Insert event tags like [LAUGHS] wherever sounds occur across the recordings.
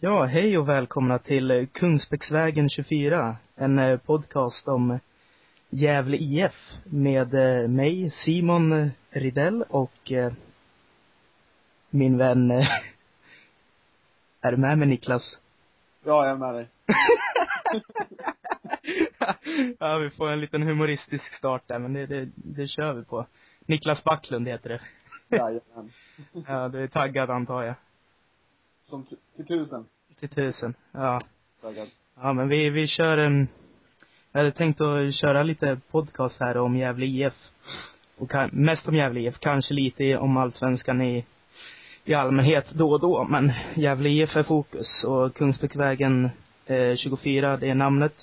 Ja, hej och välkomna till eh, Kungsbäcksvägen 24. En eh, podcast om Gävle IF med eh, mig, Simon eh, Ridell och eh, min vän, eh, [LAUGHS] är du med mig Niklas? Ja, jag är med dig. [LAUGHS] ja, vi får en liten humoristisk start där, men det, det, det kör vi på. Niklas Backlund heter [LAUGHS] det. Jajamän. Ja, du är taggad antar jag. Som t- till tusen. Till tusen. Ja. Taggad. Ja, men vi, vi kör en... Jag hade tänkt att köra lite podcast här om Gävle IF. Och kan, mest om Gävle IF, kanske lite om allsvenskan i, i allmänhet då och då. Men Gävle IF är fokus och Kungsbäckvägen eh, 24, det är namnet.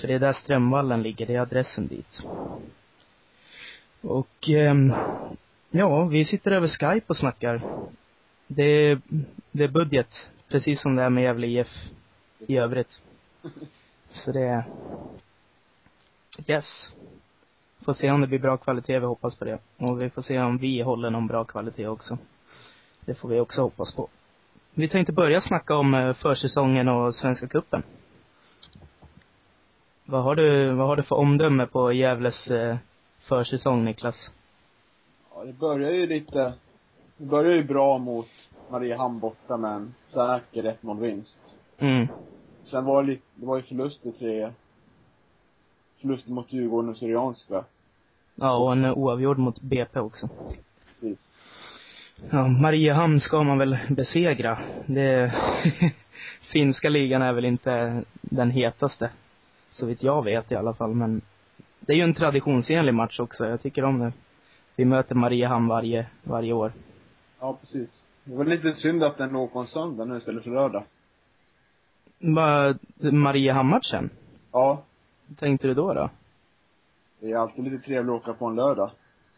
För det är där Strömvallen ligger, det är adressen dit. Och ehm, ja, vi sitter över Skype och snackar. Det är, det är budget, precis som det är med Gävle IF i övrigt. Så det... Yes. Får se om det blir bra kvalitet, vi hoppas på det. Och vi får se om vi håller någon bra kvalitet också. Det får vi också hoppas på. Vi tänkte börja snacka om eh, försäsongen och Svenska Cupen. Vad har du, vad har du för omdöme på Gävles eh, försäsong, Niklas? Ja, det börjar ju lite... Det börjar ju bra mot Mariehamn borta med en säker 1-0-vinst. Mm. Sen var det lite, det var ju förlust i tre... Förluster mot Djurgården och Syrianska. Ja, och en eh, oavgjord mot BP också. Precis. Ja, Mariehamn ska man väl besegra. Det... [LAUGHS] Finska ligan är väl inte den hetaste. Så vitt jag vet i alla fall, men det är ju en traditionsenlig match också. Jag tycker om det. Vi möter Mariehamn varje, varje år. Ja, precis. Det var lite synd att den låg på en söndag nu istället för lördag. Vad- Mariehamn-matchen? Ja. Hur tänkte du då? då? Det är alltid lite trevligt att åka på en lördag.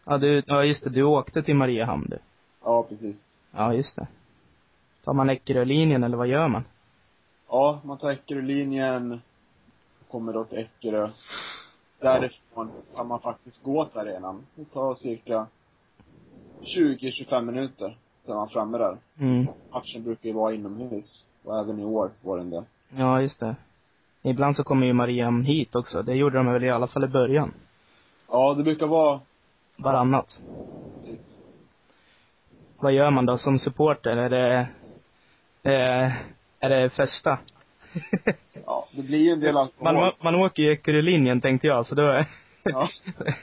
Ja, du, ja, just det. Du åkte till Mariehamn, du. Ja, precis. Ja, just det. Tar man Eckerö-linjen, eller vad gör man? Ja, man tar Eckerö-linjen, kommer då till Eckerö. Därifrån kan man faktiskt gå till arenan. Det tar cirka 20-25 minuter, sen är man framme där. Mm. Matchen brukar ju vara inomhus, och även i år var den det. Ja, just det. Ibland så kommer ju Mariehamn hit också. Det gjorde de väl i alla fall i början. Ja, det brukar vara, varannat. precis. Vad gör man då som supporter? Är det, eh, är det [LAUGHS] festa? Ja, det blir ju en del Man, alkohol. man, man åker ju Eckerölinjen tänkte jag, så då Ja.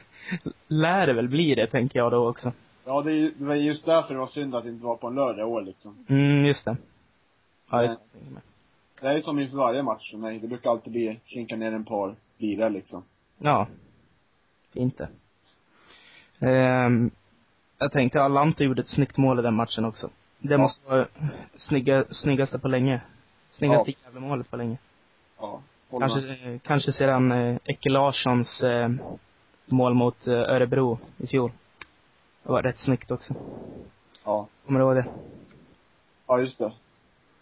[LAUGHS] lär det väl bli det, tänker jag då också. ja, det är ju- det var just därför det var synd att det inte var på en lördag i år liksom. Mm, just det. Ja, Nej. det Det är ju som inför varje match för mig. Det brukar alltid bli, slinka ner en par bira liksom. ja. Fint det. Ehm, jag tänkte, Alante gjorde ett snyggt mål i den matchen också. Det Ja. måste vara snygga, snyggaste på länge. Snyggaste jävla målet på länge. Ja. Håller med. Kanske, eh, kanske sedan eh, Ecke Larssons eh, mål mot eh, Örebro i fjol. Det var rätt snyggt också. Ja. Kommer du ihåg det? Ja, just det.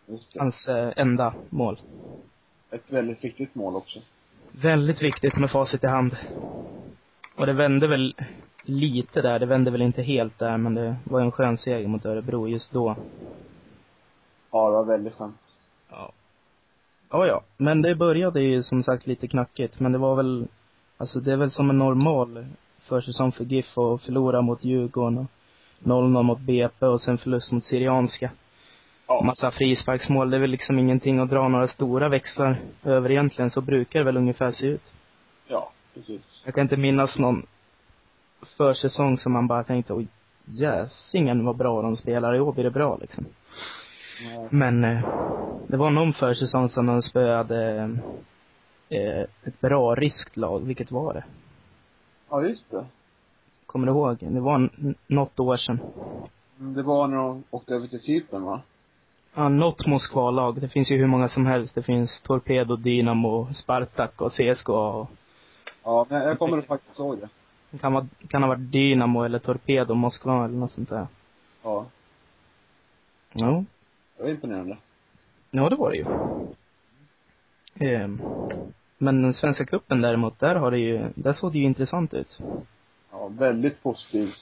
Just det. Hans eh, enda mål. Ett väldigt viktigt mål också. Väldigt viktigt med facit i hand. Och det vände väl lite där. Det vände väl inte helt där, men det var en skön seger mot Örebro just då. Ja, det var väldigt skönt. Ja. Ja, ja. Men det började ju som sagt lite knackigt. Men det var väl, alltså det är väl som en normal försäsong för GIF att förlora mot Djurgården och 0-0 mot BP och sen förlust mot Syrianska. Ja. Massa frisparksmål. Det är väl liksom ingenting att dra några stora växlar över egentligen. Så brukar det väl ungefär se ut. Ja, precis. Jag kan inte minnas någon försäsong som man bara tänkte, oj jäsingen vad bra de spelar. I år blir det bra liksom. Nej. Men eh, det var någon försäsong som de spöade eh, ett bra ryskt lag. Vilket var det? Ja, just det. Kommer du ihåg? Det var n- något år sedan. Mm, Det var när de åkte över till Cypern, va? Ja, något Moskvalag. Det finns ju hur många som helst. Det finns Torpedo, Dynamo, Spartak och CSKA. Och Ja, men jag kommer faktiskt ihåg det. det kan, vara, kan ha varit Dynamo eller Torpedo Moskva eller något sånt där. Ja. Jo. Det var imponerande. Ja, det var det ju. Ehm, men den svenska cupen däremot, där har det ju, där såg det ju intressant ut. Ja, väldigt positivt.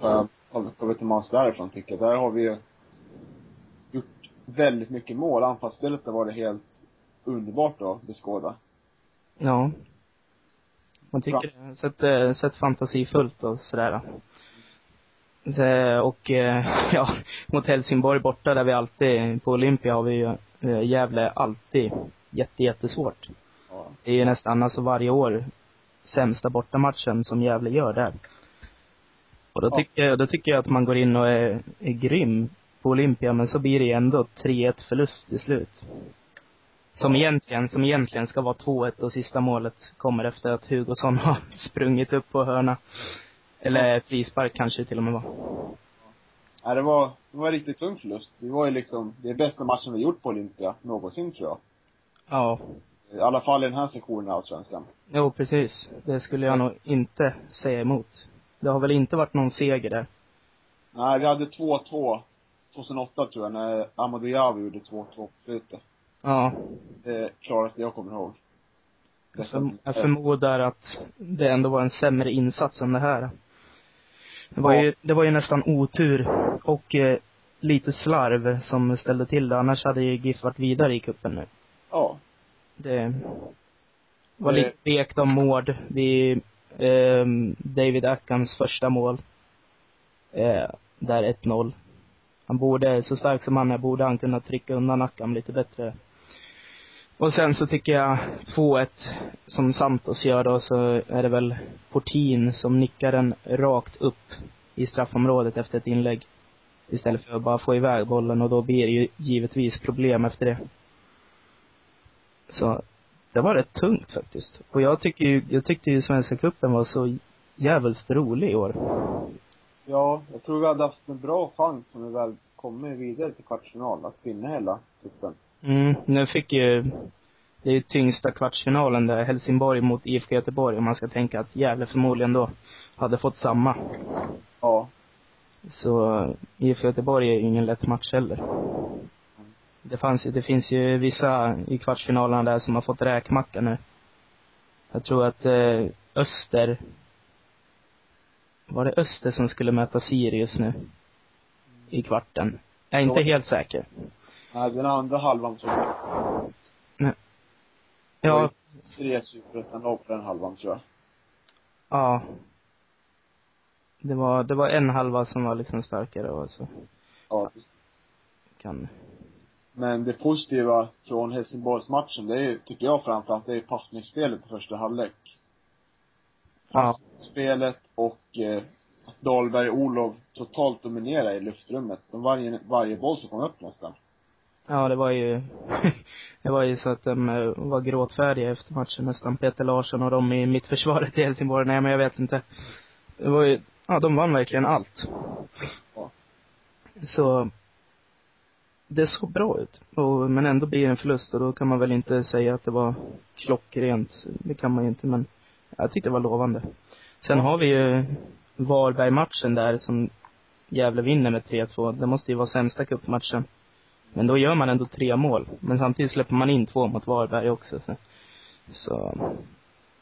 Har jag kommit till Mans därifrån, tycker jag. Där har vi ju gjort väldigt mycket mål. Anfallsspelet har varit helt underbart att beskåda. Ja. Man tycker det. Sett, eh, sett fantasifullt och sådär. Det- Och eh, [LAUGHS] ja, mot Helsingborg borta där vi alltid, på Olympia har vi ju eh, Gävle alltid jätte, jättesvårt. Ja. Det är ju nästan alltså varje år sämsta bortamatchen som Gävle gör där. Och då Ja. tycker, jag, då tycker jag att man går in och är, är grym på Olympia, men så blir det ändå 3-1 förlust till slut. Som egentligen, som egentligen ska vara 2-1 och sista målet kommer efter att Hugosson [LAUGHS] har sprungit upp på hörna. Eller frispark kanske det till och med var. Nej, det var, det var en riktigt tung förlust. Det var ju liksom, det är bästa matchen vi gjort på Olympia någonsin tror jag. Ja. I alla fall i den här sektionen av Allsvenskan. Jo, precis. Det skulle jag nog inte säga emot. Det har väl inte varit någon seger där. Nej, vi hade 2-2 2008 tror jag, när Amadou Diaby gjorde 2-2 på slutet. Ja. Det är klarast jag kommer ihåg. Jag förm- Jag förmodar att det ändå var en sämre insats än det här. Det var, Ja. ju, det var ju nästan otur och eh, lite slarv som ställde till det. Annars hade ju GIF varit vidare i cupen nu. Ja. Det var Det- lite vekt om mål vid ehm, David Ackans första mål. Eh, där 1-0. Han borde, så stark som han är, borde han kunna trycka undan Ackan lite bättre. Och sen så tycker jag 2-1 som Santos gör då så är det väl Portin som nickar den rakt upp i straffområdet efter ett inlägg. Istället för att bara få iväg bollen och då blir det ju givetvis problem efter det. Så det var rätt tungt faktiskt. Och jag tycker ju, jag tyckte ju Svenska cupen var så jävligt rolig i år. Ja, jag tror vi hade haft en bra chans om vi väl kommer vidare till kvartsfinal att vinna hela cupen. Mm, nu fick ju, det är ju tyngsta kvartsfinalen där, Helsingborg mot IFK Göteborg, om man ska tänka att Gävle förmodligen då hade fått samma. Ja. Så IFK Göteborg är ju ingen lätt match heller. Det fanns ju, det finns ju vissa i kvartsfinalerna där som har fått räkmacka nu. Jag tror att eh, Öster, var det Öster som skulle möta Sirius nu? I kvarten. Jag är inte Ja. helt säker. Nej, den andra halvan tror jag. Ja, Oj. Tre superettan på den halvan tror jag. Ja. Det var, det var en halva som var liksom starkare och så Ja, precis. kan... Men det positiva från Helsingborgsmatchen, det är ju, tycker jag framförallt, det är passningsspelet i första halvlek. Ja. Passningsspelet och eh, att Dahlberg och Olof totalt dominerar i luftrummet. De varje, varje boll som kom upp nästan. Ja, det var ju... [LAUGHS] det var ju så att de eh, var gråtfärdiga efter matchen nästan. Peter Larsson och de i mittförsvaret i Helsingborg. Nej, men jag vet inte. Det var ju... Ja, de vann verkligen allt. Ja. Så... Det såg bra ut. Och, men ändå blir det en förlust och då kan man väl inte säga att det var klockrent. Det kan man ju inte, men jag tyckte det var lovande. Sen har vi ju Varberg-matchen där som Gävle vinner med 3-2. Det måste ju vara sämsta cupmatchen. Men då gör man ändå tre mål. Men samtidigt släpper man in två mot Varberg också. Så. så.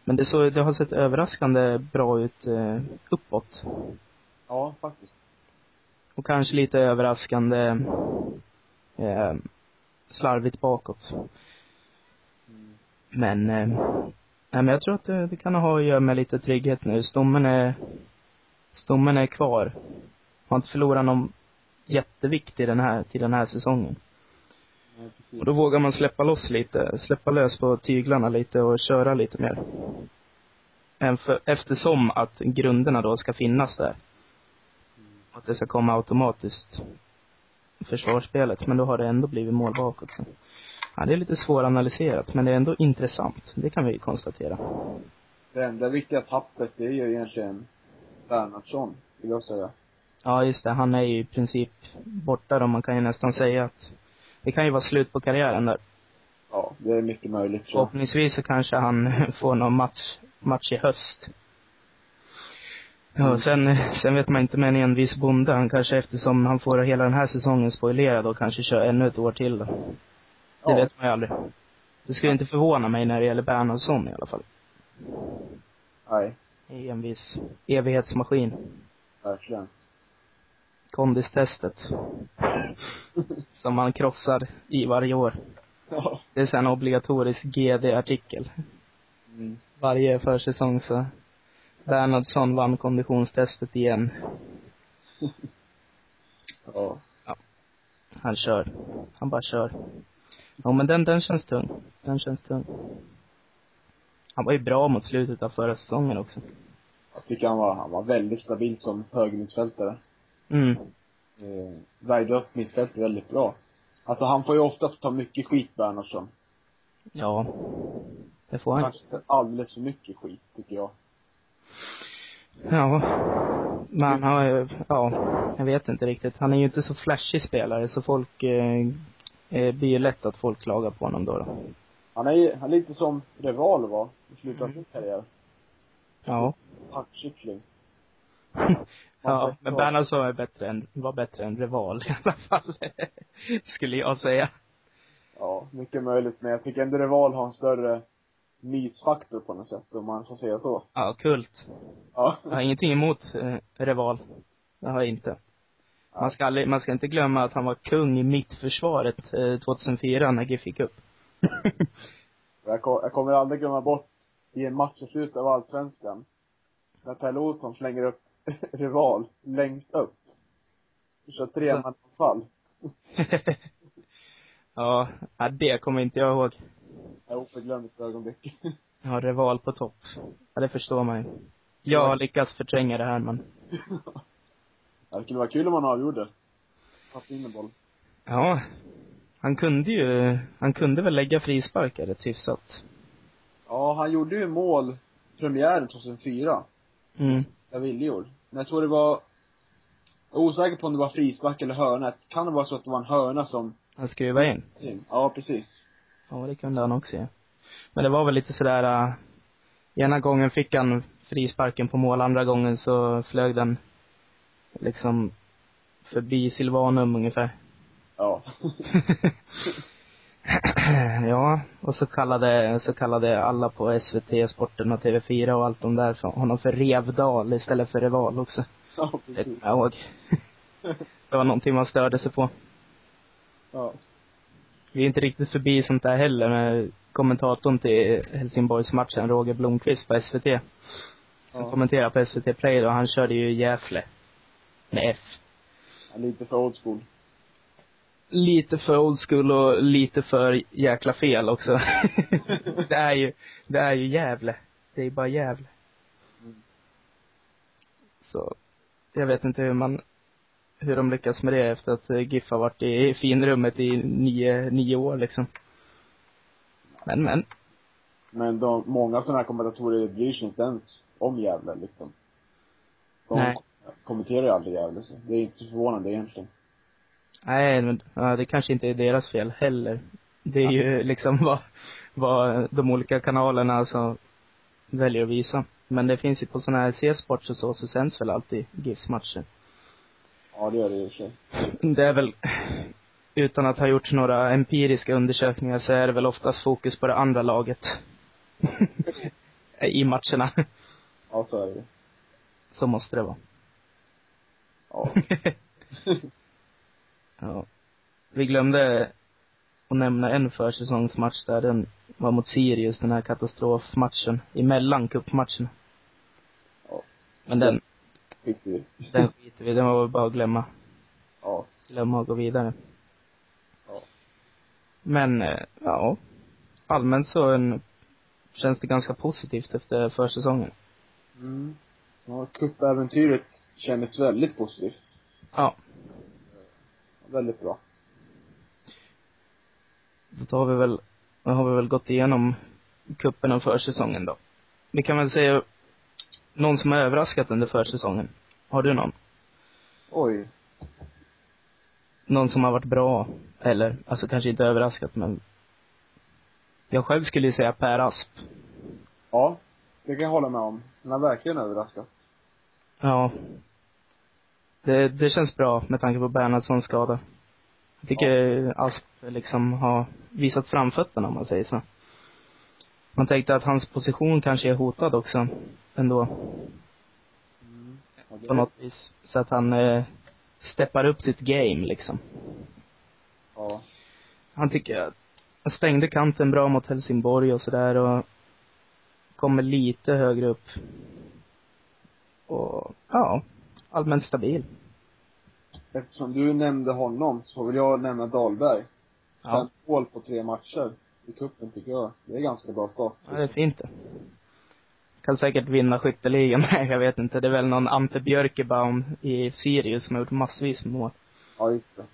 Men det, så, det har sett överraskande bra ut eh, uppåt. Ja, faktiskt. Och kanske lite överraskande eh, slarvigt bakåt. Mm. Men, eh, nej men jag tror att det, det kan ha att göra med lite trygghet nu. Stommen är, stommen är kvar. Har inte förlorat någon jättevikt i den här, till den här säsongen. Nej, precis. Och då vågar man släppa loss lite, släppa lös på tyglarna lite och köra lite mer. Än för, eftersom att grunderna då ska finnas där. Att det ska komma automatiskt. Försvarsspelet. Men då har det ändå blivit mål bakåt. Så. Ja, det är lite svåranalyserat, men det är ändå intressant. Det kan vi ju konstatera. Det enda viktiga tappet, det är ju egentligen Bernhardsson, vill jag säga. Ja, just det. Han är ju i princip borta då. Man kan ju nästan säga att det kan ju vara slut på karriären där. Ja, det är mycket möjligt tror jag. Förhoppningsvis så kanske han [LAUGHS] får någon match, match i höst. Ja, och sen, sen vet man inte med en envis bonde. Han kanske eftersom han får hela den här säsongen spoilerad och kanske kör ännu ett år till då. Det Ja. vet man ju aldrig. Det skulle inte förvåna mig när det gäller Bernhardsson i alla fall. Nej, I en viss evighetsmaskin. verkligen. Kondistestet. som man krossar i varje år. Ja. Det är sen obligatorisk GD-artikel. [LAUGHS] Mm. Varje försäsong så Bernhardsson vann konditionstestet igen. Ja. Han kör. Han bara kör. Ja men den, den känns tung. Den känns tung. Han var ju bra mot slutet av förra säsongen också. Jag tycker han var, han var väldigt stabil som högermittfältare. Mm. Eh, värjde upp mittfältet väldigt bra. Alltså han får ju ofta ta mycket skit, Bernhardsson. Ja. Det får han. Kanske alldeles för mycket skit, tycker jag. Ja. Men han har ju, ja, jag vet inte riktigt. Han är ju inte så flashig spelare så folk, eh, eh, blir ju lätt att folk klagar på honom då. då. Han är ju, han är lite som Reval var, i slutet av Mm. sin karriär. Ja. Hackkyckling. [LAUGHS] Alltså, Ja, men Bernhardsson är bättre än, var bättre än Rival i alla fall. [LAUGHS] Skulle jag säga. Ja, mycket möjligt. Men jag tycker ändå Reval har en större mysfaktor på något sätt, om man får säga så. Ja, kult. Ja. Jag har ingenting emot eh, Reval. Det har jag inte. Man ska, aldrig, man ska inte glömma att han var kung i mittförsvaret eh, 2004 när GIF gick upp. [LAUGHS] Jag, ko- jag kommer aldrig glömma bort i en match i slutet av Allsvenskan. När Pelle Olsson slänger upp [LAUGHS] Rival längst upp. Och kör tre Ja. man fall. ja, ja, det kommer inte jag ihåg. Ett oförglömligt ögonblick. [LAUGHS] Ja, Reval på topp. Ja, det förstår man ju. Jag har lyckats förtränga det här, men Ja, det skulle vara kul om han avgjorde. Fast in en boll. ja. Han kunde ju, han kunde väl lägga frisparkar rätt hyfsat. Ja, han gjorde ju mål premiären 2004. Mm. Jag ville gjorde. Men jag tror det var jag är osäker på om det var frispark eller hörna. Kan det vara så att det var en hörna som Han skruvade in. Ja, precis. Ja, det kunde han också ja. Men det var väl lite sådär, uh, ena gången fick han frisparken på mål, andra gången så flög den liksom förbi Silvanum ungefär. [CLEARS THROAT] Ja. [LAUGHS] ja, och så kallade, så kallade alla på SVT, Sporten och TV4 och allt de där för honom för Revdal istället för Rival också. ja, Det kommer precis. jag ihåg. [LAUGHS] det var någonting man störde sig på. Ja. Vi är inte riktigt förbi sånt där heller men kommentatorn till Helsingborgsmatchen, Roger Blomqvist på SVT, som ja. kommenterade på SVT Play då, han körde ju Gävle. Med F. Lite för old school. Lite för old school och lite för jäkla fel också. [LAUGHS] det är ju, det är ju Gävle. Det är ju bara Gävle. Mm. Så, jag vet inte hur man, hur de lyckas med det efter att eh, GIF har varit i finrummet i nio, nio år liksom. Men, men. Men de, många sådana här kommentatorer bryr sig inte ens om Gävle liksom. De Nej. kommenterar ju aldrig Gävle så det är inte så förvånande egentligen. Nej, men ja, det kanske inte är deras fel heller. Det är ju liksom [LAUGHS] vad, vad de olika kanalerna alltså väljer att visa. Men det finns ju på sådana här C-sports och så, så sänds väl alltid GIFs matcher. Ja, det gör det i och för sig. Det är väl, utan att ha gjort några empiriska undersökningar så är det väl oftast fokus på det andra laget. [LAUGHS] I matcherna. Ja, så är det ju. Så måste det vara. Ja. [LAUGHS] Ja. Vi glömde att nämna en försäsongsmatch där. Den var mot Sirius, den här katastrofmatchen. Emellan cupmatcherna. Ja. Men den, Fick du. den skiter vi Den var väl bara att glömma. Ja. Glömma och gå vidare. Ja. Men, eh, ja. Allmänt så en, känns det ganska positivt efter försäsongen. Mm. Ja, cupäventyret kändes väldigt positivt. Ja. Väldigt bra. Då har vi väl, då har vi väl gått igenom kuppen och försäsongen då. Vi kan väl säga någon som har överraskat under försäsongen. Har du någon? Oj. Någon som har varit bra, eller alltså kanske inte överraskat men jag själv skulle ju säga Per Asp. Ja, det kan jag hålla med om. Han har verkligen överraskat. Ja. Det, det känns bra med tanke på Bernhardssons skada. Jag tycker Asp liksom har visat framfötterna om man säger så. Man tänkte att hans position kanske är hotad också ändå. Ja, det på något vis. Så att han eh, steppar upp sitt game liksom. Ja. Ja. Han tycker att han stängde kanten bra mot Helsingborg och sådär och kommer lite högre upp. Och ja, allmänt stabil. Eftersom du nämnde honom så vill jag nämna Dahlberg. Ja. Fem mål på tre matcher i cupen tycker jag. Det är ganska bra start. Ja, det är fint det. Kan säkert vinna skytteligan, [LAUGHS] nej jag vet inte. Det är väl någon Ante Björkebaum i Sirius som har gjort massvis med mål. Ja, just det.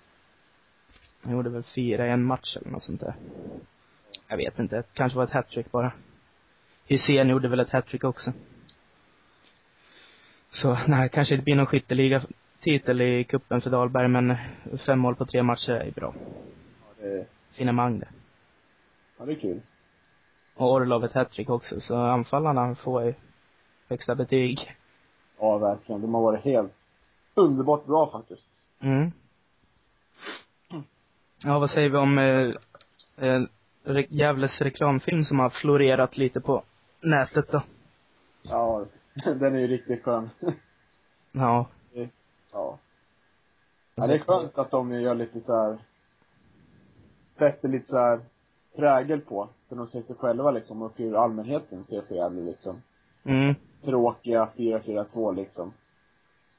Han gjorde väl fyra i en match eller något sånt där. Jag vet inte, det kanske var ett hattrick bara. Hysén gjorde väl ett hattrick också. Så nej, kanske det blir någon skytteliga-titel i kuppen för Dahlberg, men fem mål på tre matcher är ju bra. Ja, det är, Finemang det. ja, det är kul. Och Orlov ett hattrick också, så anfallarna får ju högsta betyg. Ja, verkligen. De har varit helt underbart bra faktiskt. Mm. Ja, vad säger vi om eh, eh, re- Gävles reklamfilm som har florerat lite på nätet då? Ja, [LAUGHS] den är ju riktigt skön. [LAUGHS] Ja. Ja. ja det är skönt att de gör lite så här sätter lite så här prägel på för de ser sig själva liksom och för hur allmänheten ser på Gävle liksom. Mm. Tråkiga 4-4-2 liksom.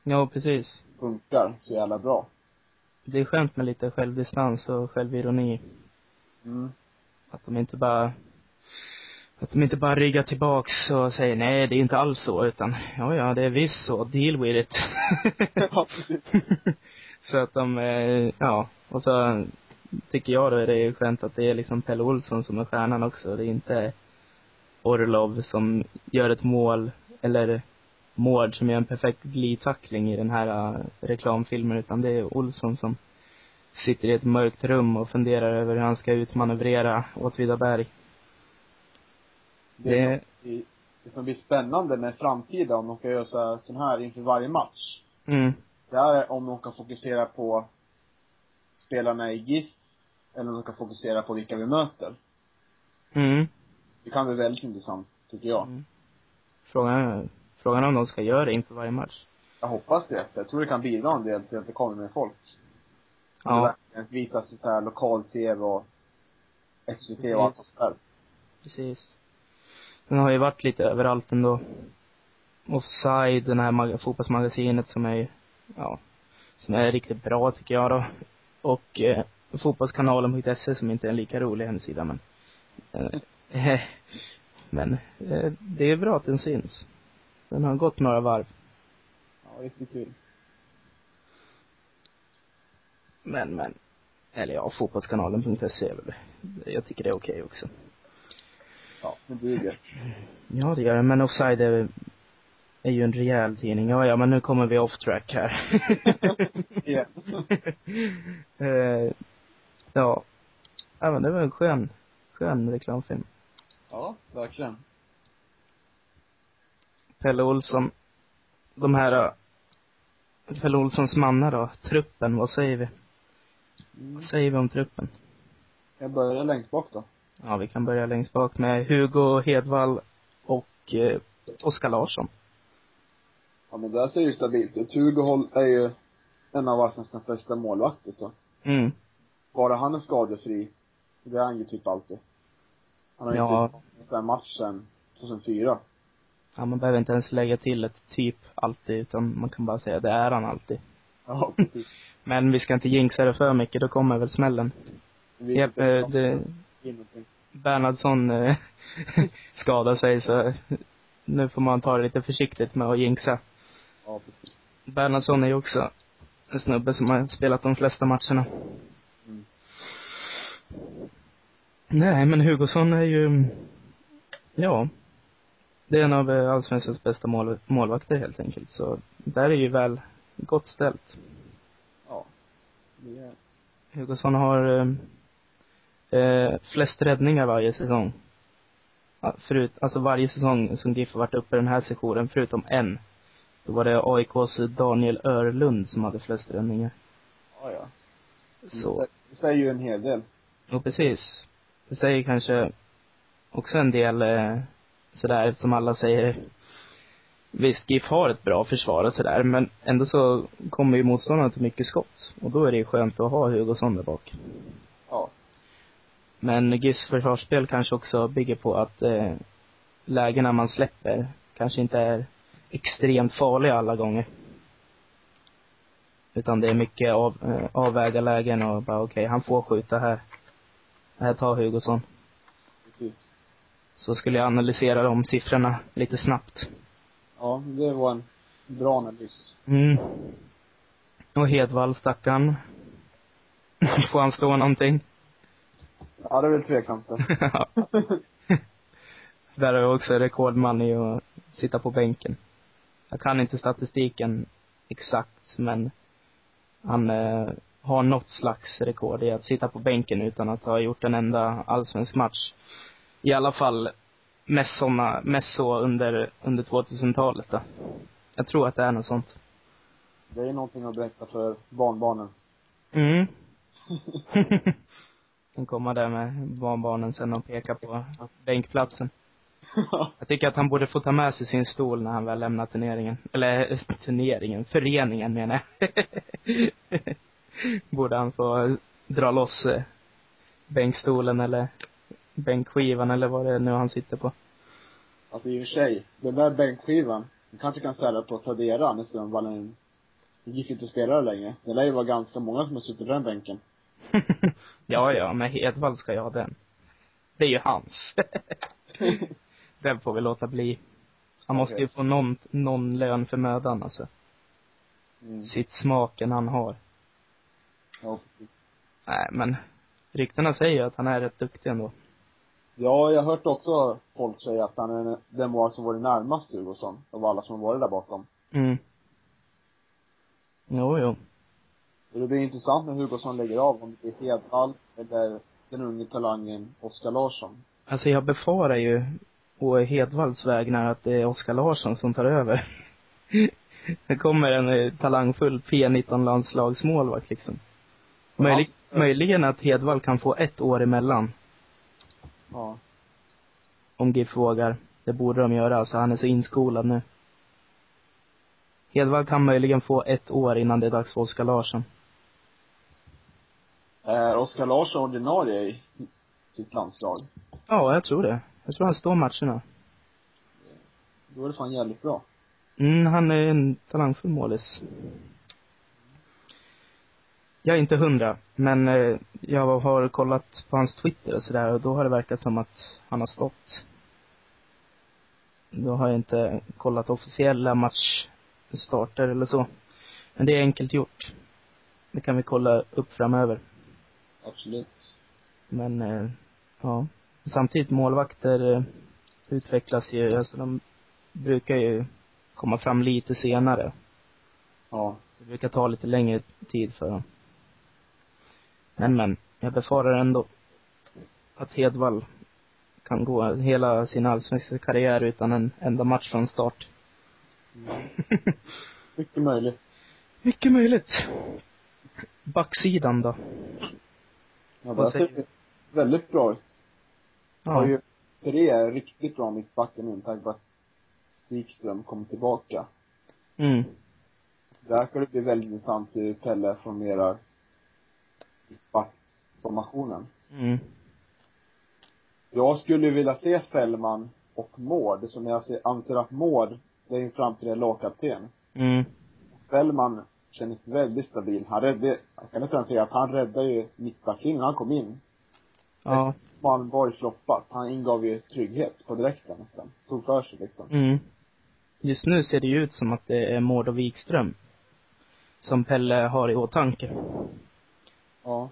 Ja, precis. Funkar så jävla bra. Det är skönt med lite självdistans och självironi. Mm. Att de inte bara att de inte bara ryggar tillbaks och säger nej, det är inte alls så, utan ja, ja, det är visst så, deal with it. [LAUGHS] Ja, precis. så att de, eh, ja, och så tycker jag då är det ju skönt att det är liksom Pelle Olsson som är stjärnan också. Det är inte Orlov som gör ett mål, eller Mård som gör en perfekt glidtackling i den här eh, reklamfilmen, utan det är Olsson som sitter i ett mörkt rum och funderar över hur han ska utmanövrera Åtvidaberg. Det, är Det- som, blir- det som blir spännande med framtiden om de kan göra så här, sån här inför varje match. Mm. Det är om de kan fokusera på spelarna i GIF eller om de kan fokusera på vilka vi möter. Mm. Det kan bli väldigt intressant, tycker jag. Mm. Frågan, är- frågan är om de ska göra det inför varje match. Jag hoppas det. Jag tror det kan bidra en del till att det kommer mer folk. Om Det Ja. verkligen visas i så här lokal-tv och SVT och Precis. allt sånt där. Precis. Den har ju varit lite överallt ändå. Offside, den här mag- fotbollsmagasinet som är, ja, som är riktigt bra tycker jag då. Och eh, fotbollskanalen.se som inte är en lika rolig hemsida men. Eh, [LAUGHS] men eh, det är bra att den syns. Den har gått några varv. Ja, riktigt kul. Men, men. Eller ja, fotbollskanalen.se är väl, jag tycker det är okej också. Ja, det [LAUGHS] duger. Ja, det gör det. Men Offside är, är ju en rejäl tidning. Ja, ja, men nu kommer vi off track här. [LAUGHS] Igen. Eh, ja. Ja, men det var en skön, skön reklamfilm. Ja, verkligen. Pelle Olsson. De här, eh, Pelle Olssons mannar då. Truppen, vad säger vi? Mm. Vad säger vi om truppen? Jag börjar längst bak då. Ja, vi kan börja längst bak med Hugo Hedvall och eh, Oskar Larsson. Ja, men där ser det ju stabilt ut. Hugo Holl är ju en av allsvenskans bästa målvakter så. Mm. Bara han är skadefri, det är han ju typ alltid. Han har ju Ja. inte typ sen matchen 2004. Ja, man behöver inte ens lägga till ett typ alltid, utan man kan bara säga det är han alltid. Ja, precis. Men vi ska inte jinxa det för mycket, då kommer väl smällen. Vi Japp, eh, det, Ingenting. Bernhardsson eh, skadar sig så nu får man ta det lite försiktigt med att jinxa. Ja, precis. Bernhardsson är ju också en snubbe som har spelat de flesta matcherna. Mm. Nej, men Hugosson är ju, ja, det är en av eh, allsvenskans bästa mål, målvakter helt enkelt. Så där är ju väl gott ställt. Ja. Det är... Hugosson har eh, eh, flest räddningar varje säsong. Ja, Förut, alltså varje säsong som GIF har varit uppe i den här sessionen, förutom en. Då var det AIKs Daniel Örlund som hade flest räddningar. Ja, ja. Så, Det säger ju en hel del. och precis. Det säger kanske också en del eh, sådär, eftersom alla säger Visst, GIF har ett bra försvar och sådär, men ändå så kommer ju motståndarna till mycket skott. Och då är det ju skönt att ha Hugosson där bak. Men GIS försvarsspel kanske också bygger på att eh, lägena man släpper kanske inte är extremt farliga alla gånger. Utan det är mycket av, eh, avväga lägen och bara okej, han får skjuta här. Här tar Hugosson. Precis. Så skulle jag analysera de siffrorna lite snabbt. Ja, det var en bra analys. Mm. Och Hedvall, stackarn. [LAUGHS] Får han slå någonting? Ja, det är väl [LAUGHS] tveksamt det. Ja. Där är jag också rekordman i att sitta på bänken. Jag kan inte statistiken exakt, men han eh, har något slags rekord i att sitta på bänken utan att ha gjort en enda allsvensk match. I alla fall mest såna, mest så under, under 2000-talet då. Jag tror att det är något sånt. Det är någonting att berätta för [LAUGHS] barnbarnen. Mm. Kan komma där med barnbarnen sen och peka på bänkplatsen. Jag tycker att han borde få ta med sig sin stol när han väl lämnar turneringen. Eller [LAUGHS] eh, turneringen, föreningen menar jag. [LAUGHS] borde han få dra loss eh, bänkstolen eller bänkskivan eller vad det är nu han sitter på. [LAUGHS] Alltså i och för sig, den där bänkskivan, den kanske kan sälja på Tradera när Strömvallen gick inte att spela längre. Det lär ju vara ganska många som har suttit på den bänken. ja, ja, men Hedvall ska jag ha den. Det är ju hans. [LAUGHS] den får vi låta bli. Han måste ju Okej. få någon, någon lön för mödan alltså. Mm. Sitt smaken han har. Ja, precis. Nej, men ryktena säger ju att han är rätt duktig ändå. Ja, jag har hört också folk säga att han är den mål som varit närmast Hugosson, av alla som varit där bakom. Mm. Jo, jo. Och det blir intressant när Hugosson lägger av, om det är Hedvall eller den unge talangen Oskar Larsson. Alltså jag befarar ju å Hedvalls vägnar att det är Oskar Larsson som tar över. [LAUGHS] det kommer en eh, talangfull P19-landslagsmålvakt liksom. Möjlig, Ja. Möjligen att Hedvall kan få ett år emellan, Ja. om GIF vågar. Det borde de göra, alltså han är så inskolad nu. Hedvall kan möjligen få ett år innan det är dags för Oskar Larsson. Är Eh, Oskar Larsson ordinarie i sitt landslag? Ja, jag tror det. Jag tror han står matcherna. Då är det fan jävligt bra. Mm, han är en talangfull målis. Jag är inte hundra, men eh, jag har kollat på hans Twitter och sådär och då har det verkat som att han har stått. Då har jag inte kollat officiella matchstarter eller så. Men det är enkelt gjort. Det kan vi kolla upp framöver. Absolut. Men, eh, ja. Samtidigt, målvakter eh, utvecklas ju, alltså de brukar ju komma fram lite senare. Ja. Det brukar ta lite längre tid för dem. Men, men, jag befarar ändå att Hedvall kan gå hela sin allsvenska karriär utan en enda match från start. Mycket möjligt. Mycket möjligt. Backsidan då? Ja, Vad det säger ser väldigt bra ut. Har Ja. ju tre riktigt bra mittbackar nu med tanke på att Wikström kom tillbaka. Mm. Där ska det bli väldigt intressant att se hur Pelle formerar mittbacksformationen. Mm. Jag skulle vilja se Fällman och Mård, som jag ser- anser att Mård, det är ju en framtida lagkapten. Mm. Fällman kändes väldigt stabil. Han räddade, jag kan nästan säga att han räddade ju mittbacklinjen när han kom in. Ja. Malmborg floppat. Han ingav ju trygghet på direkten nästan. Tog för sig liksom. Mm. Just nu ser det ju ut som att det är Mård och Wikström som Pelle har i åtanke. Ja.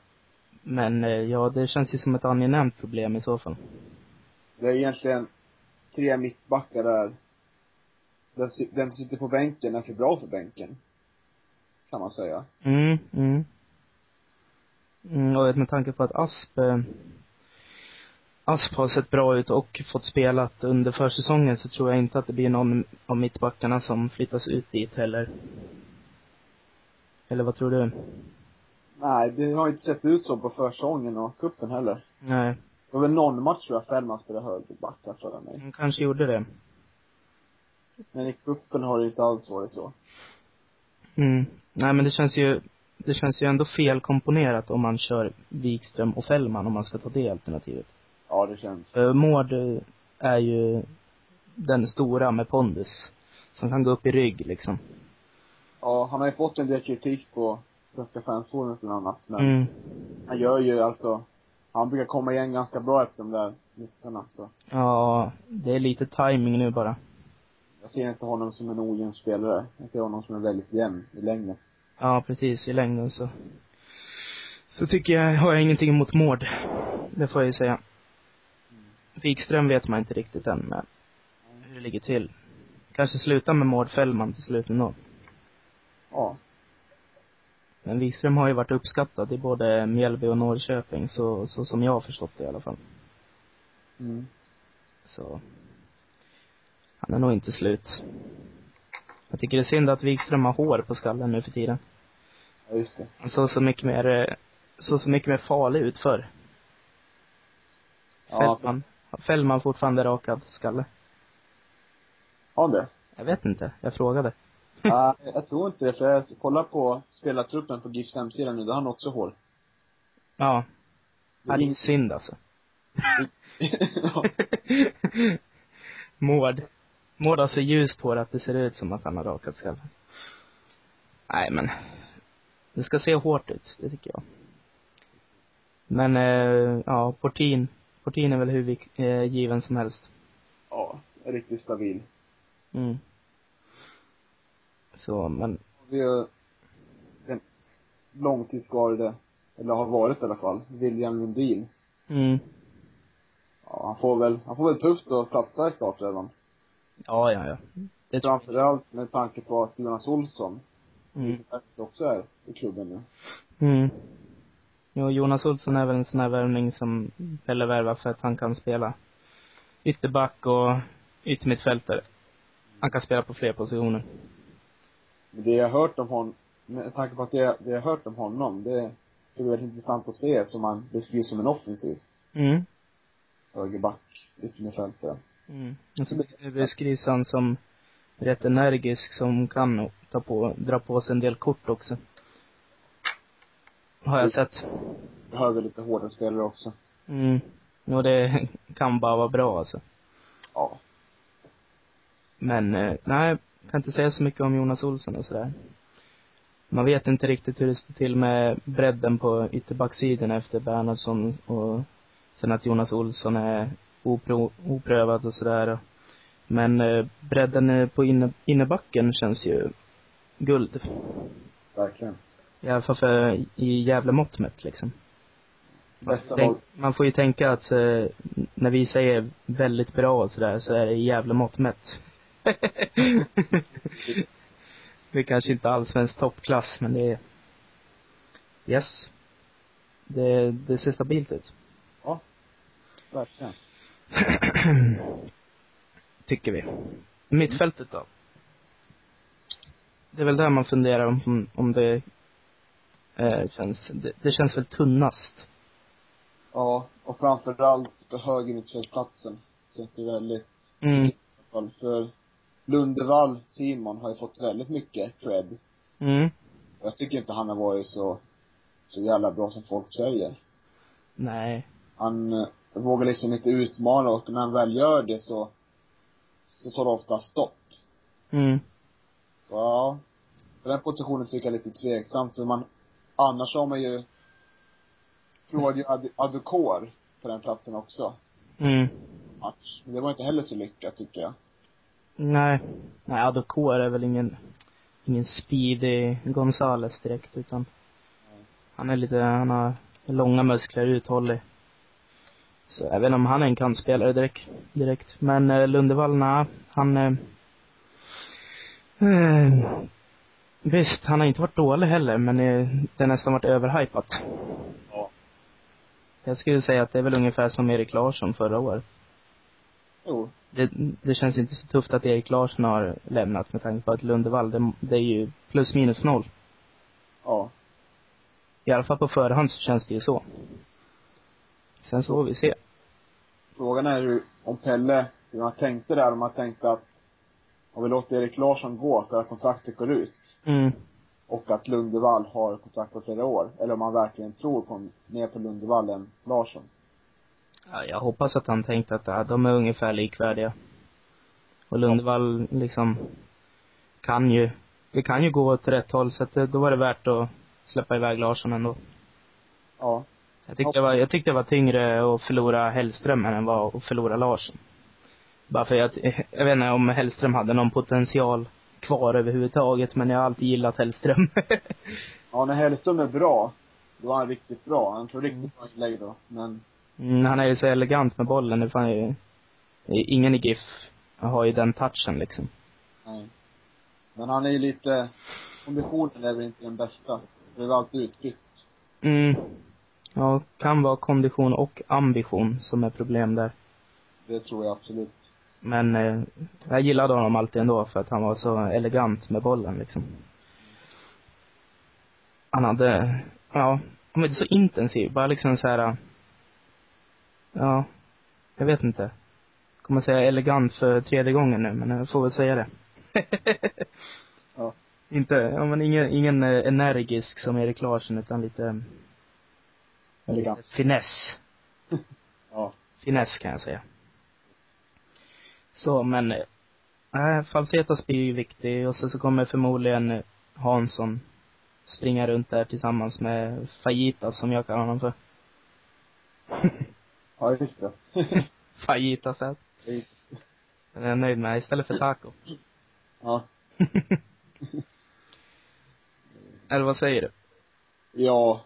Men eh, ja, det känns ju som ett angenämt problem i så fall. Det är egentligen tre mittbackar där. Den, si- den som sitter på bänken är för bra för bänken. Kan man säga. Mm, mm. mm och med tanke på att Asp eh, Asp har sett bra ut och fått spelat under försäsongen så tror jag inte att det blir någon av mittbackarna som flyttas ut dit heller. Eller vad tror du? Nej, det har inte sett ut så på försången och kuppen heller. Nej, Det var väl någon match tror jag Fällman spelade högerbackar för mig. de kanske gjorde det. Men i kuppen har det inte alls varit så. Mm. Nej men det känns ju det känns ju ändå felkomponerat om man kör Wikström och Fällman om man ska ta det alternativet. Ja, det känns. För Mård eh, är ju den stora med pondus. Som kan gå upp i rygg liksom. Ja, han har ju fått en del kritik på Svenska fansforum bland annat, men Mm. han gör ju alltså, han brukar komma igen ganska bra efter de där missarna, så Ja, det är lite timing nu bara. jag ser inte honom som en ojämn spelare. Jag ser honom som en väldigt jämn i längden. Ja, precis. I längden så. Så tycker jag, har jag ingenting emot Mård. Det får jag ju säga. Wikström vet man inte riktigt än men hur det ligger till. Kanske slutar med Mård Fällman till slut ändå. Ja. Men Wikström har ju varit uppskattad i både Mjällby och Norrköping så, så som jag har förstått det i alla fall. Mm. Så. Han är nog inte slut. Jag tycker det är synd att Wikström har hår på skallen nu för tiden. Ja, just det. Han såg så mycket mer, eh, såg så mycket mer farlig ut förr. Ja, alltså, Fällman. Fällman fortfarande rakad skalle. har han det? Jag vet inte. Jag frågade. Nej, jag tror inte det, för jag kollar på spelartruppen på GIFs hemsida nu, där har han också hår. Ja. Det ja är det är inte... synd alltså. ja. [LAUGHS] Mård. Mård har så ljust hår att det ser ut som att han har rakat skallen. Nej men. Det ska se hårt ut, det tycker jag. Men, eh, ja, Portin. Portin är väl hur vik- eh, given som helst. [LAUGHS] ja, riktigt stabil. Mm. Så, men, Vi har den långtidsskadade, eller har varit i alla fall, William Lundin. mm. Ja, han får väl, han får väl tufft att platsa i startelvan. Ja, ja, ja. Det tror Framförallt med tanke på att Jonas Olsson, jag. Mm. faktiskt också är i klubben nu. Mm. Jo, Jonas Olsson är väl en sån här värvning som Pelle värvar för att han kan spela ytterback och yttermittfältare. Han kan spela på fler positioner. Men det jag har hört om honom, med tanke på att det, det jag har hört om honom, det, det är väldigt intressant att se som han beskrivs som en offensiv Mm. högerback, yttermittfältare. Mm. Och så beskrivs han som rätt energisk som kan ta på, dra på sig en del kort också. Har jag sett. Behöver lite hårdare spelare också. Mm. Och det kan bara vara bra alltså. Ja. Men eh, nej, kan inte säga så mycket om Jonas Olsson och sådär. Man vet inte riktigt hur det står till med bredden på ytterbackssidan efter Bernhardsson och sen att Jonas Olsson är opro, oprövad och sådär. Men eh, bredden eh, på inne, innebacken känns ju guld. Verkligen. I alla fall för, i jävla mått mätt liksom. Bästa Tänk, lag. man får ju tänka att eh, när vi säger väldigt bra och sådär så är det jävla mått mätt. [LAUGHS] det är kanske inte allsvensk toppklass men det är yes. Det, det ser stabilt ut. Verkligen. [CLEARS THROAT] Tycker vi. Mittfältet då? Det är väl där man funderar om, om det eh, känns, det, det känns väl tunnast. Ja, och framförallt på högeryttermittfältplatsen. Känns det väldigt Mm. i alla fall. För Lundevall, Simon, har ju fått väldigt mycket cred. Mm. Och jag tycker inte han har varit så, så jävla bra som folk säger. Nej. Han eh, vågar liksom inte utmana och när han väl gör det så, så tar det ofta stopp. Mm. Så ja, på den positionen tycker jag är lite tveksamt för man, annars har man ju provade ju Ad- Adukor på den platsen också, Mm. match. Men det var inte heller så lyckat tycker jag. Nej. Nej, Adokor är väl ingen, ingen speedy Gonzales direkt, utan han är lite, han har långa muskler, uthållig. Så jag vet inte om han är en kantspelare direkt, direkt. Men eh, Lundevall, nej, han eh, eh, Visst, han har inte varit dålig heller, men eh, det har nästan varit överhypat. Ja. Jag skulle säga att det är väl ungefär som Erik Larsson förra året Jo. det, det känns inte så tufft att Erik Larsson har lämnat med tanke på att Lundevall, det, det är ju plus minus noll. Ja. I alla fall på förhand så känns det ju så. Sen så får vi se. Frågan är ju om Pelle, hur han tänkte där, om han tänkte att om vi låter Erik Larsson gå för att kontraktet går ut. Mm. Och att Lundevall har kontrakt på flera år. Eller om han verkligen tror på, mer på Lundevall än Larsson. Ja, jag hoppas att han tänkte att ja, de är ungefär likvärdiga. Och Lundevall liksom kan ju, det kan ju gå åt rätt håll så att eh, då var det värt att släppa iväg Larsson ändå. Ja. Jag tyckte det var, jag tyckte det var tyngre att förlora Hellström än vad att förlora Larsson. Bara för att, [LAUGHS] jag vet inte om Hellström hade någon potential kvar överhuvudtaget men jag har alltid gillat Hellström. [LAUGHS] Ja, när Hellström är bra, då är han riktigt bra. Han tror riktigt bra inlägg då. Men, Mm, han är ju så elegant med bollen. Det fan ju, ingen i GIF har ju den touchen liksom. nej. Men han är ju lite, konditionen är väl inte den bästa. Det är väl alltid utbytt. Mm. Ja, kan vara kondition och ambition som är problem där. Det tror jag absolut. Men eh, jag gillade honom alltid ändå för att han var så elegant med bollen liksom. Han hade, ja, han var inte så intensiv. Bara liksom så här. ja, jag vet inte. Kommer säga elegant för tredje gången nu, men jag får väl säga det. [LAUGHS] Ja. Inte, ja men ingen, ingen eh, energisk som Erik Larsson utan lite Elegant. finess. Ja. Finess kan jag säga. Så men, äh, Falsetas blir ju viktig och så, så kommer förmodligen Hansson springa runt där tillsammans med Fajitas som jag kallar honom för. [LAUGHS] Ja, just det. [LAUGHS] Fajitas är Det är- jag är nöjd med istället för taco. ja. Eller vad säger du? Ja,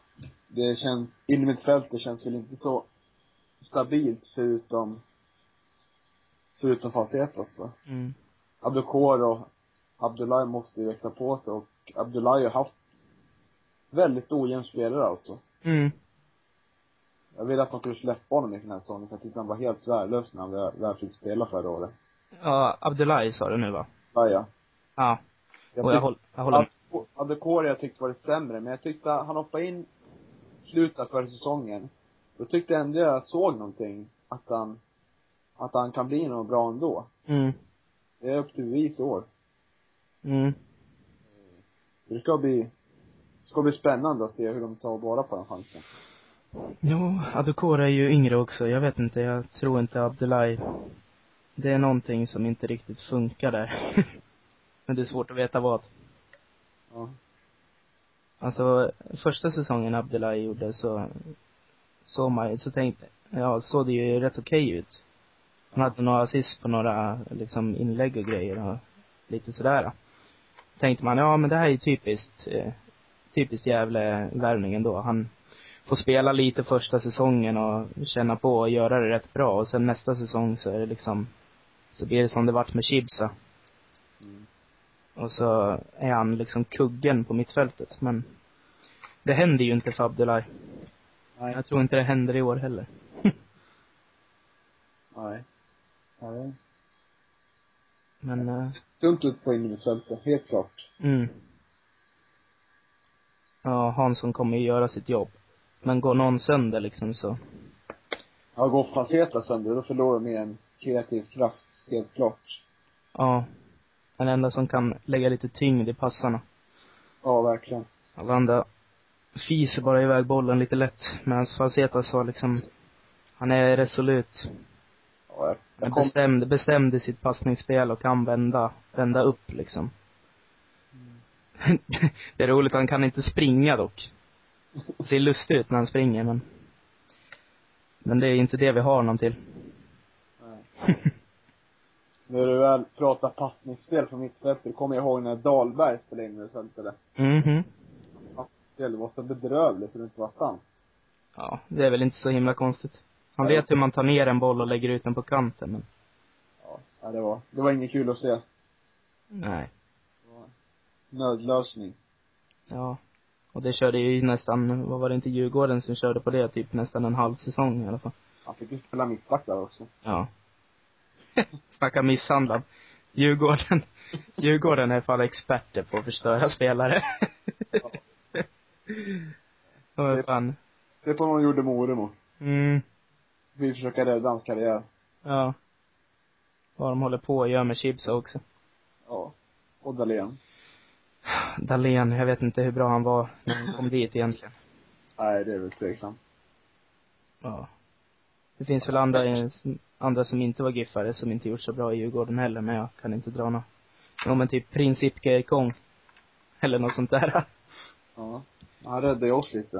det känns, innermittfältet känns väl inte så stabilt förutom, förutom Facetas då. Mm. Abdukor och Abdullahi måste ju växa på sig och Abdullahi har haft väldigt ojämn spelare alltså. Mm. Jag ville att de skulle släppa honom i den här säsongen för jag tyckte han var helt värdelös när han väl, väl fick spela förra året. Ja, Abdullahi sa du nu va? Ja, ja. Ja. Jag och jag, tyckte- håll, jag håller med. Adekore jag tyckte var det sämre, men jag tyckte han hoppade in slutet förra säsongen. Då tyckte jag ändå jag såg någonting, att han, att han kan bli något bra ändå. Mm. Det är upp till bevis i år. Mm. Så det ska bli, ska bli spännande att se hur de tar vara på den chansen. Jo, Adukora är ju yngre också. Jag vet inte, jag tror inte Abdullahi. Det är någonting som inte riktigt funkar där. [LAUGHS] Men det är svårt att veta vad. Ja. Alltså, första säsongen Abdullahi gjorde så såg man ju- så tänkte, ja, såg det ju rätt okej ut. Han hade några assist på några, liksom, inlägg och grejer och lite sådär. Tänkte man, ja men det här är ju typiskt, eh, typiskt Gävle-värvningen då. Han får spela lite första säsongen och känna på och göra det rätt bra och sen nästa säsong så är det liksom, så blir det som det vart med Chibsa. Mm. Och så är han liksom kuggen på mittfältet. Men det händer ju inte för Abdullahi. Nej. Jag tror inte det händer i år heller. Nej. Nej. Men, eh, Dumt ut på innermittfältet, helt klart. mm. Ja, Hansson kommer ju göra sitt jobb. Men går någon sönder liksom så. Ja, går Faceta sönder, då förlorar de en kreativ kraft, helt klart. Ja. Den enda som kan lägga lite tyngd i passarna. Ja, verkligen. Alla andra fiser bara iväg bollen lite lätt. Medan Falsetas var liksom, han är resolut. Ja, jag, Han jag kom, bestämde, bestämde sitt passningsspel och kan vända, vända upp liksom. [LAUGHS] det är roligt, han kan inte springa dock. Det ser lustigt ut när han springer men. Men det är inte det vi har honom till. Nej. När du väl pratar passningsspel på mittfältet, då kommer jag ihåg när Dahlberg spelade in mittfältare. Mhm. Passningsspel var så bedrövligt så det inte var sant. Ja, det är väl inte så himla konstigt. Han Nej. vet hur man tar ner en boll och lägger ut den på kanten men. Ja, ja, det var, det var inget kul att se. Det Nej. var nödlösning. Ja. Och det körde ju nästan, vad var det inte Djurgården som körde på det? Typ nästan en halv säsong i alla fall. Han fick ju spela mittback där också. Ja. [LAUGHS] Snacka misshandlad. Djurgården. [LAUGHS] Djurgården är fan experter på att förstöra spelare. De är fan. Se på vad de gjorde med Oremo. Mm. Vi försöker rädda hans karriär. Ja. Vad de håller på och gör med Chibsa också. Ja. Och Dahlén. Dahlén, jag vet inte hur bra han var när han kom dit egentligen. Nej, det är väl tveksamt. Ja. Det finns väl andra, andra som inte var giffare som inte gjort så bra i Djurgården heller, men jag kan inte dra något. Ja men typ Prins Ipke Kong. Eller något sånt där. Ja. Han räddade ju oss lite.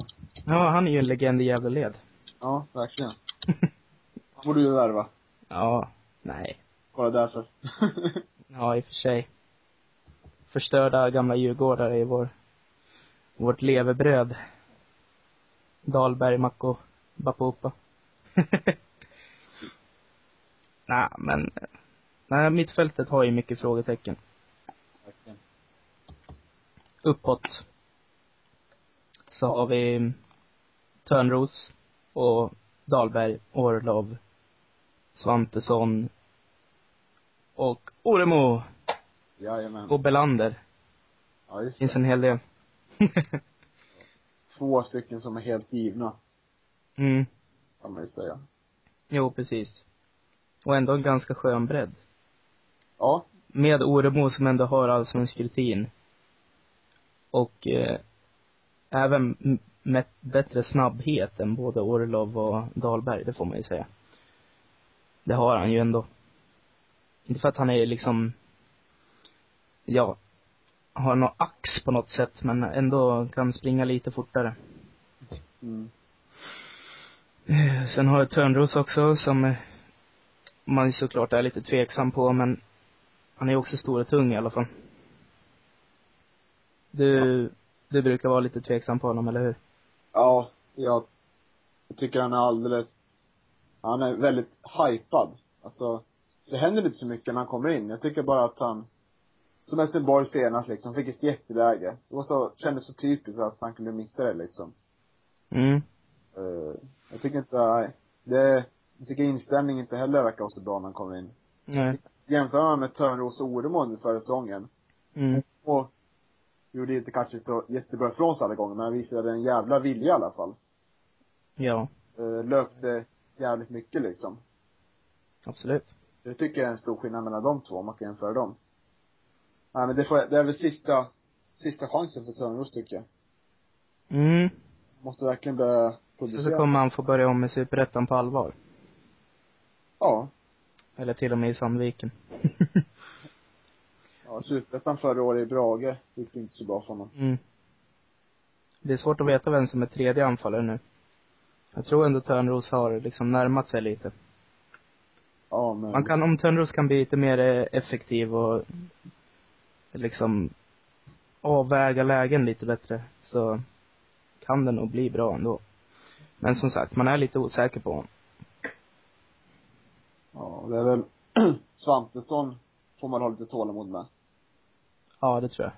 Ja, han är ju en legend i jävla led. Ja, [LAUGHS] verkligen. Han borde ju värva. Ja. Nej. [LAUGHS] Kolla därför. Ja, i och för sig. Förstörda gamla djurgårdare är vår, vårt levebröd. Dahlberg, Macko, Bapopa. [LAUGHS] nej, men, nej, mittfältet har ju mycket frågetecken. verkligen. Uppåt. Så har vi Törnros och Dahlberg, Orlov, Svantesson och Oremo Jajamän. och Belander. Ja, just Finns det. en hel del. [LAUGHS] Två stycken som är helt givna, mm. kan man ju säga. Jo, precis. Och ändå en ganska skön bredd. Ja. Med Oremo som ändå har allsvensk rutin. Och eh, även m- med bättre snabbhet än både Orlov och Dahlberg, det får man ju säga. Det har han ju ändå. Inte för att han är liksom, ja, har någon ax på något sätt, men ändå kan springa lite fortare. Mm. Eh, Sen har jag Törnros också som eh, man ju såklart är lite tveksam på men han är ju också stor och tung i alla fall. Du, du brukar vara lite tveksam på honom, eller hur? Ja, jag, jag tycker han är alldeles, han är väldigt hypad. Alltså, det händer inte så mycket när han kommer in. Jag tycker bara att han, som Helsingborg senast liksom, fick ett jätteläge. Det var så, kändes så typiskt att han kunde missa det liksom. Mm. Eh, jag tycker inte, nej. Det, jag tycker inställningen inte heller verkar vara så bra när han kommer in. Nej. Jämför man med Törnros och Oremo under förra säsongen. Mm. Och gjorde inte kanske så jättebra ifrån sig alla gånger, men han visade en jävla vilja i alla fall. Ja, Eh, löpte jävligt mycket liksom. absolut. Det tycker jag är en stor skillnad mellan de två, om man kan jämföra dem. Nej men det, får, det är väl sista, sista chansen för Törnros tycker jag. Mm. Måste verkligen börja Så, så producera. kommer han få börja om med superettan på allvar. Ja. Eller till och med i Sandviken. Ja, superettan förra året i Brage gick inte så bra för honom. Mm. Det är svårt att veta vem som är tredje anfallare nu. Jag tror ändå Törnros har liksom närmat sig lite. Ja men. Man kan, om Törnros kan bli lite mer eh, effektiv och liksom avväga lägen lite bättre så kan det nog bli bra ändå. Men som sagt, man är lite osäker på honom. Ja, det är väl [CLEARS THROAT] Svantesson får man ha lite tålamod med. Ja, det tror jag.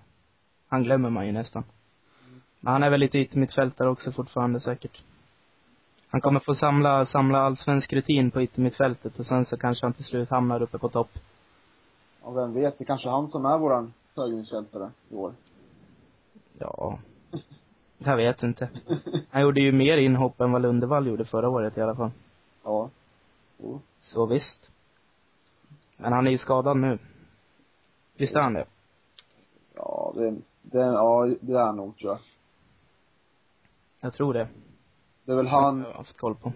Han glömmer man ju nästan. Men han är väl lite yttermittfältare också fortfarande säkert. Han kommer få samla, samla allsvensk rutin på yttermittfältet och sen så kanske han till slut hamnar uppe på topp. Och vem vet, det kanske är han som är våran högervinshjältare i år. [LAUGHS] Ja. Jag vet inte. Han gjorde ju mer inhopp än vad Lundevall gjorde förra året i alla fall. Ja. Oh. Jo. Så visst. Men han är ju skadad nu. Visst är han det? Ja, det, det, ja, det är han nog tror jag. Jag tror det. Det är väl Jag han, har haft koll på.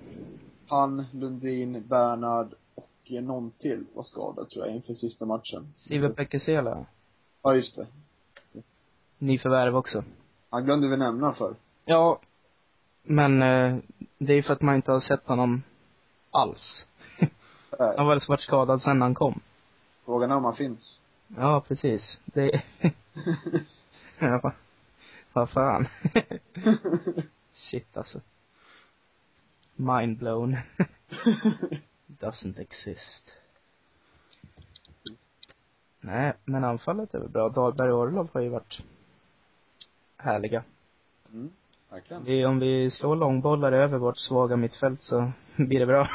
han, Lundin, Bernhard och eh, någon till var skadad tror jag inför sista matchen. Sive Pekesela. Ja, just det. Nyförvärv också. Han glömde vi nämna för. Äh, Ja. Men eh, det är ju för att man inte har sett honom alls. Äh, Han har väl varit skadad sedan han kom. frågan är om han [LAUGHS] finns. Ja, precis. Det... [LAUGHS] ja, vad- vad fan. [LAUGHS] Shit alltså. Mind blown. [LAUGHS] Doesn't exist. Nej, men anfallet är väl bra. Dahlberg och Orlov har ju varit härliga. Mm, verkligen. Vi, om vi slår långbollar över vårt svaga mittfält så [LAUGHS] blir det bra.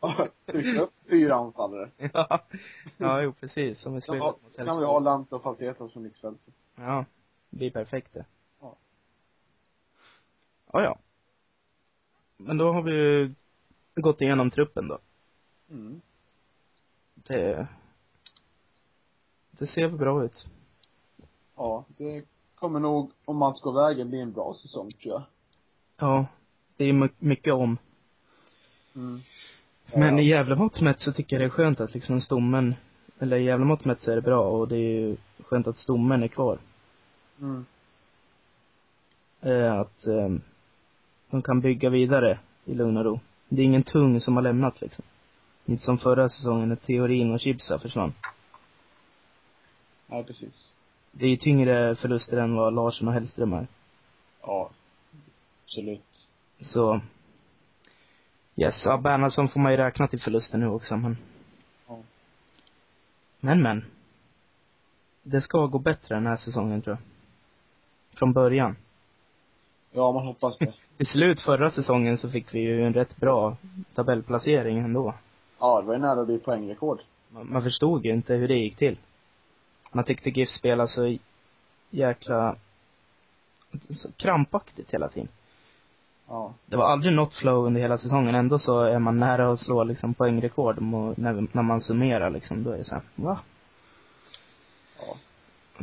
Ja, Trycka upp fyra anfallare. ja. ja, jo precis. Om vi Kan, slår ha, mot kan vi ha Lant och Falsetas på mittfältet. Ja, det blir perfekt det. Ja. Ja, ja. Men då har vi ju gått igenom truppen då. Mm. Det, det ser väl bra ut. ja, det kommer nog, om allt går vägen, bli en bra säsong tror jag. Ja. Det är my- mycket om. Mm. Men ja. i jävla mått mätt så tycker jag det är skönt att liksom stommen, eller i jävla mått mätt så är det bra och det är ju skönt att stommen är kvar. Mm. Eh, att eh, de kan bygga vidare i lugn och ro. Det är ingen tung som har lämnat liksom. Inte som förra säsongen när teorin och Chibsa försvann. Nej, precis. Det är ju tyngre förluster än vad Larsson och Hellström är. Ja. Absolut. Så yes, ja, Bernhardsson får man ju räkna till förlusten nu också men. Ja. Men men. Det ska gå bättre den här säsongen tror jag. Från början. Ja, man hoppas det. I slut förra säsongen så fick vi ju en rätt bra tabellplacering ändå. [LAUGHS] ja, det var ju nära att bli poängrekord. Man, man förstod ju inte hur det gick till. Man tyckte GIF spelade så jäkla så krampaktigt hela tiden. Ja. Det var aldrig något flow under hela säsongen. Ändå så är man nära att slå liksom poängrekord må- när, när man summerar liksom. Då är det så här, va? Ja.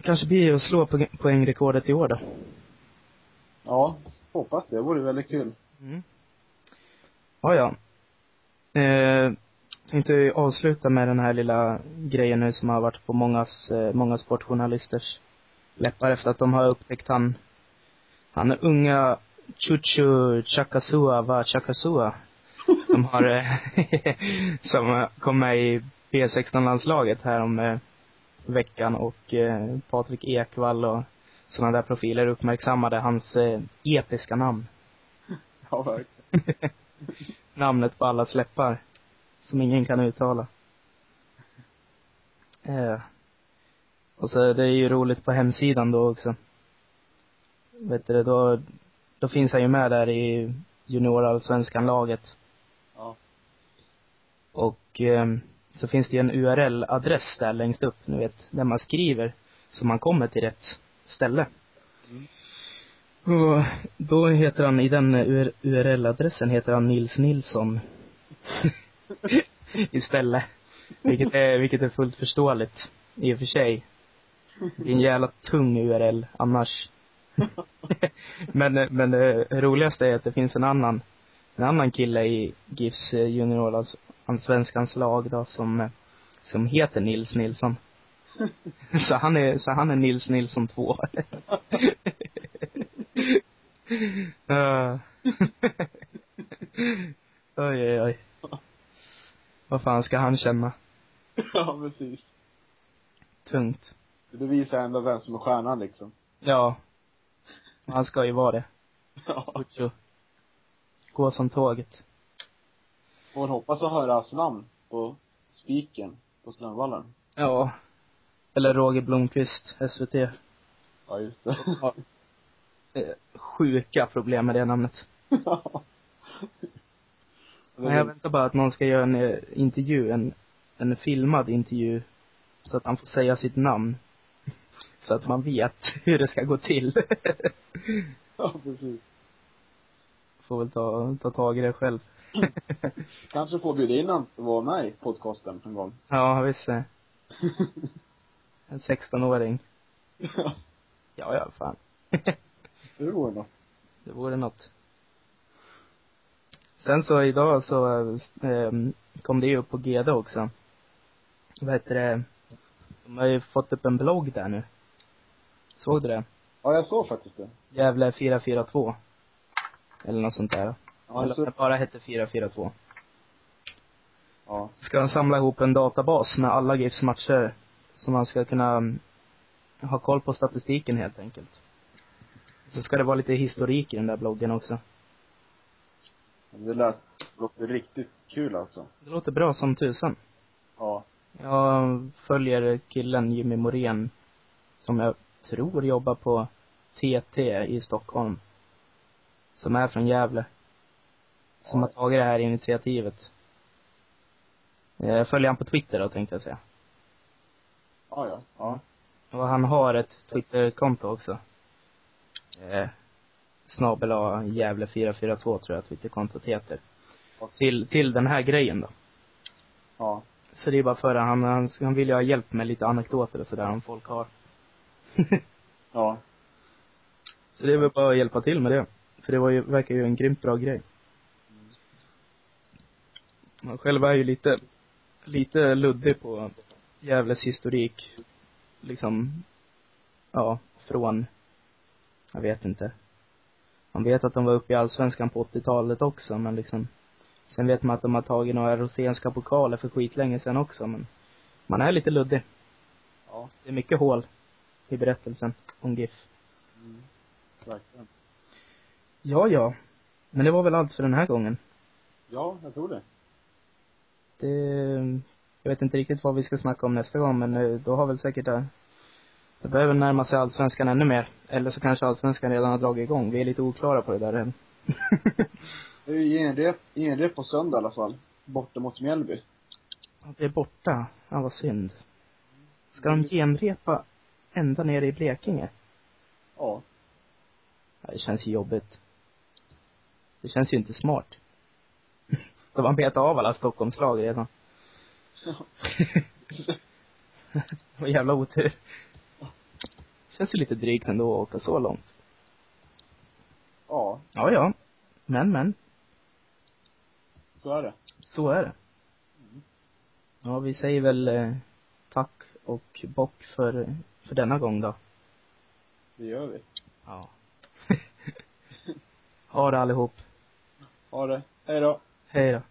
Kanske blir det att slå poäng- poängrekordet i år då. Ja, hoppas det. Det vore väldigt kul. Mm. Ja, ja. Eh, tänkte avsluta med den här lilla grejen nu som har varit på mångas, eh, många sportjournalisters läppar efter att de har upptäckt han, han är unga Chuchu Chakasua va Chakasua som har, eh, [LAUGHS] som eh, kom med i B16-landslaget här om eh, veckan och eh, Patrik Ekwall och sådana där profiler uppmärksammade hans eh, etiska namn [LAUGHS] Ja, verkligen. namnet på alla släppar. Som ingen kan uttala. Eh. Och så det är ju roligt på hemsidan då också. Vet du det, då, då finns han ju med där i juniorallsvenskan-laget. Ja. Och ehm, så finns det ju en URL-adress där längst upp, ni vet, där man skriver så man kommer till rätt ställe. Mm. Och då heter han, i den UR- URL-adressen heter han Nils Nilsson. [LAUGHS] Istället. Vilket är, vilket är fullt förståeligt. I och för sig. Det är en jävla tung URL annars. [LAUGHS] men, eh, men det roligaste är att det finns en annan, en annan kille i GIFs eh, juniorlands- allsvenskans lag då som, eh, som heter Nils Nilsson. så han är, så han är Nils Nilsson 2. Eh. oj, [LAUGHS] oj, oj. Vad fan ska han känna? [LAUGHS] ja, precis. Tungt. Det visar ändå vem som är stjärnan liksom. Ja. Han ska ju vara det. Ja. Så. Gå som tåget. Får man hoppas att höra hans namn på spiken på Strömvallen. Ja. Eller Roger Blomqvist, SVT. Ja, just det. Eh, Sjuka problem med det namnet. [LAUGHS] [LAUGHS] ja. Men jag väntar bara att någon ska göra en eh, intervju, en, en filmad intervju. Så att han får säga sitt namn. [LAUGHS] Så att man vet [LAUGHS] hur det ska gå till. [LAUGHS] ja, precis. får väl ta, ta tag i det själv. Kanske får bjuda in honom att vara med i podcasten en gång. Ja, visst det. En 16-åring. [LAUGHS] Ja. Ja, ja, fan. [LAUGHS] det vore något. Det vore något. Sen så idag så eh, kom det ju upp på GD också. Vad heter det? De har ju fått upp en blogg där nu. Såg du det? Ja, jag såg faktiskt det. Gävle 442. Eller något sånt där. Ja, alltså- Eller jag om det såg, bara hette 442. ja. ska han samla ihop en databas med alla GIFs matcher. Så man ska kunna mm, ha koll på statistiken helt enkelt. Så ska det vara lite historik i den där bloggen också. Det lät, låter riktigt kul alltså. Det låter bra som tusan. Ja. Jag följer killen Jimmy Morén. Som jag tror jobbar på TT i Stockholm. Som är från Gävle. Som Ja. har tagit det här initiativet. Jag följer han på Twitter då tänkte jag säga. Ja, ja. Ja. Och han har ett Twitterkonto också. Eh, snabel A Gävle 442 tror jag Twitterkontot heter. Till, till den här grejen då. Ja. Så det är bara för att han, han, han vill ju ha hjälp med lite anekdoter och sådär om folk har. Ja. Så det är väl bara att hjälpa till med det. För det var ju, verkar ju en grymt bra grej. Man själv är ju lite, lite luddig på Gävles historik. Liksom, ja, från, jag vet inte. Man vet att de var uppe i allsvenskan på 80-talet också, men liksom. Sen vet man att de har tagit några rosenska pokaler för skitlänge sen också, men man är lite luddig. Ja. Det är mycket hål i berättelsen om GIF. Mm. Verkligen. Ja, ja. Men det var väl allt för den här gången. Ja, jag tror det. Det, jag vet inte riktigt vad vi ska snacka om nästa gång, men eh, då har väl säkert det, det börjar väl närma sig allsvenskan ännu mer. Eller så kanske allsvenskan redan har dragit igång. Vi är lite oklara på det där än. Det är ju genrep, genrep på söndag i alla fall. Borta mot Mjällby. Ja, Det är borta. Ja, vad synd. Ska de genrepa ända nere i Blekinge? Ja. [LAUGHS] Ja, det känns ju jobbigt. Det känns ju inte smart. [LAUGHS] De har betat av alla Stockholmslag redan. Vad jävla otur. Känns ju lite drygt ändå att åka så långt. Ja, Ja, ja. Men, men. så är det. Så är det. Ja, vi säger väl eh, tack och bock för, för denna gång då. Det gör vi. Ja. [LAUGHS] ha det allihop. Ha det. Hej då. Hej då.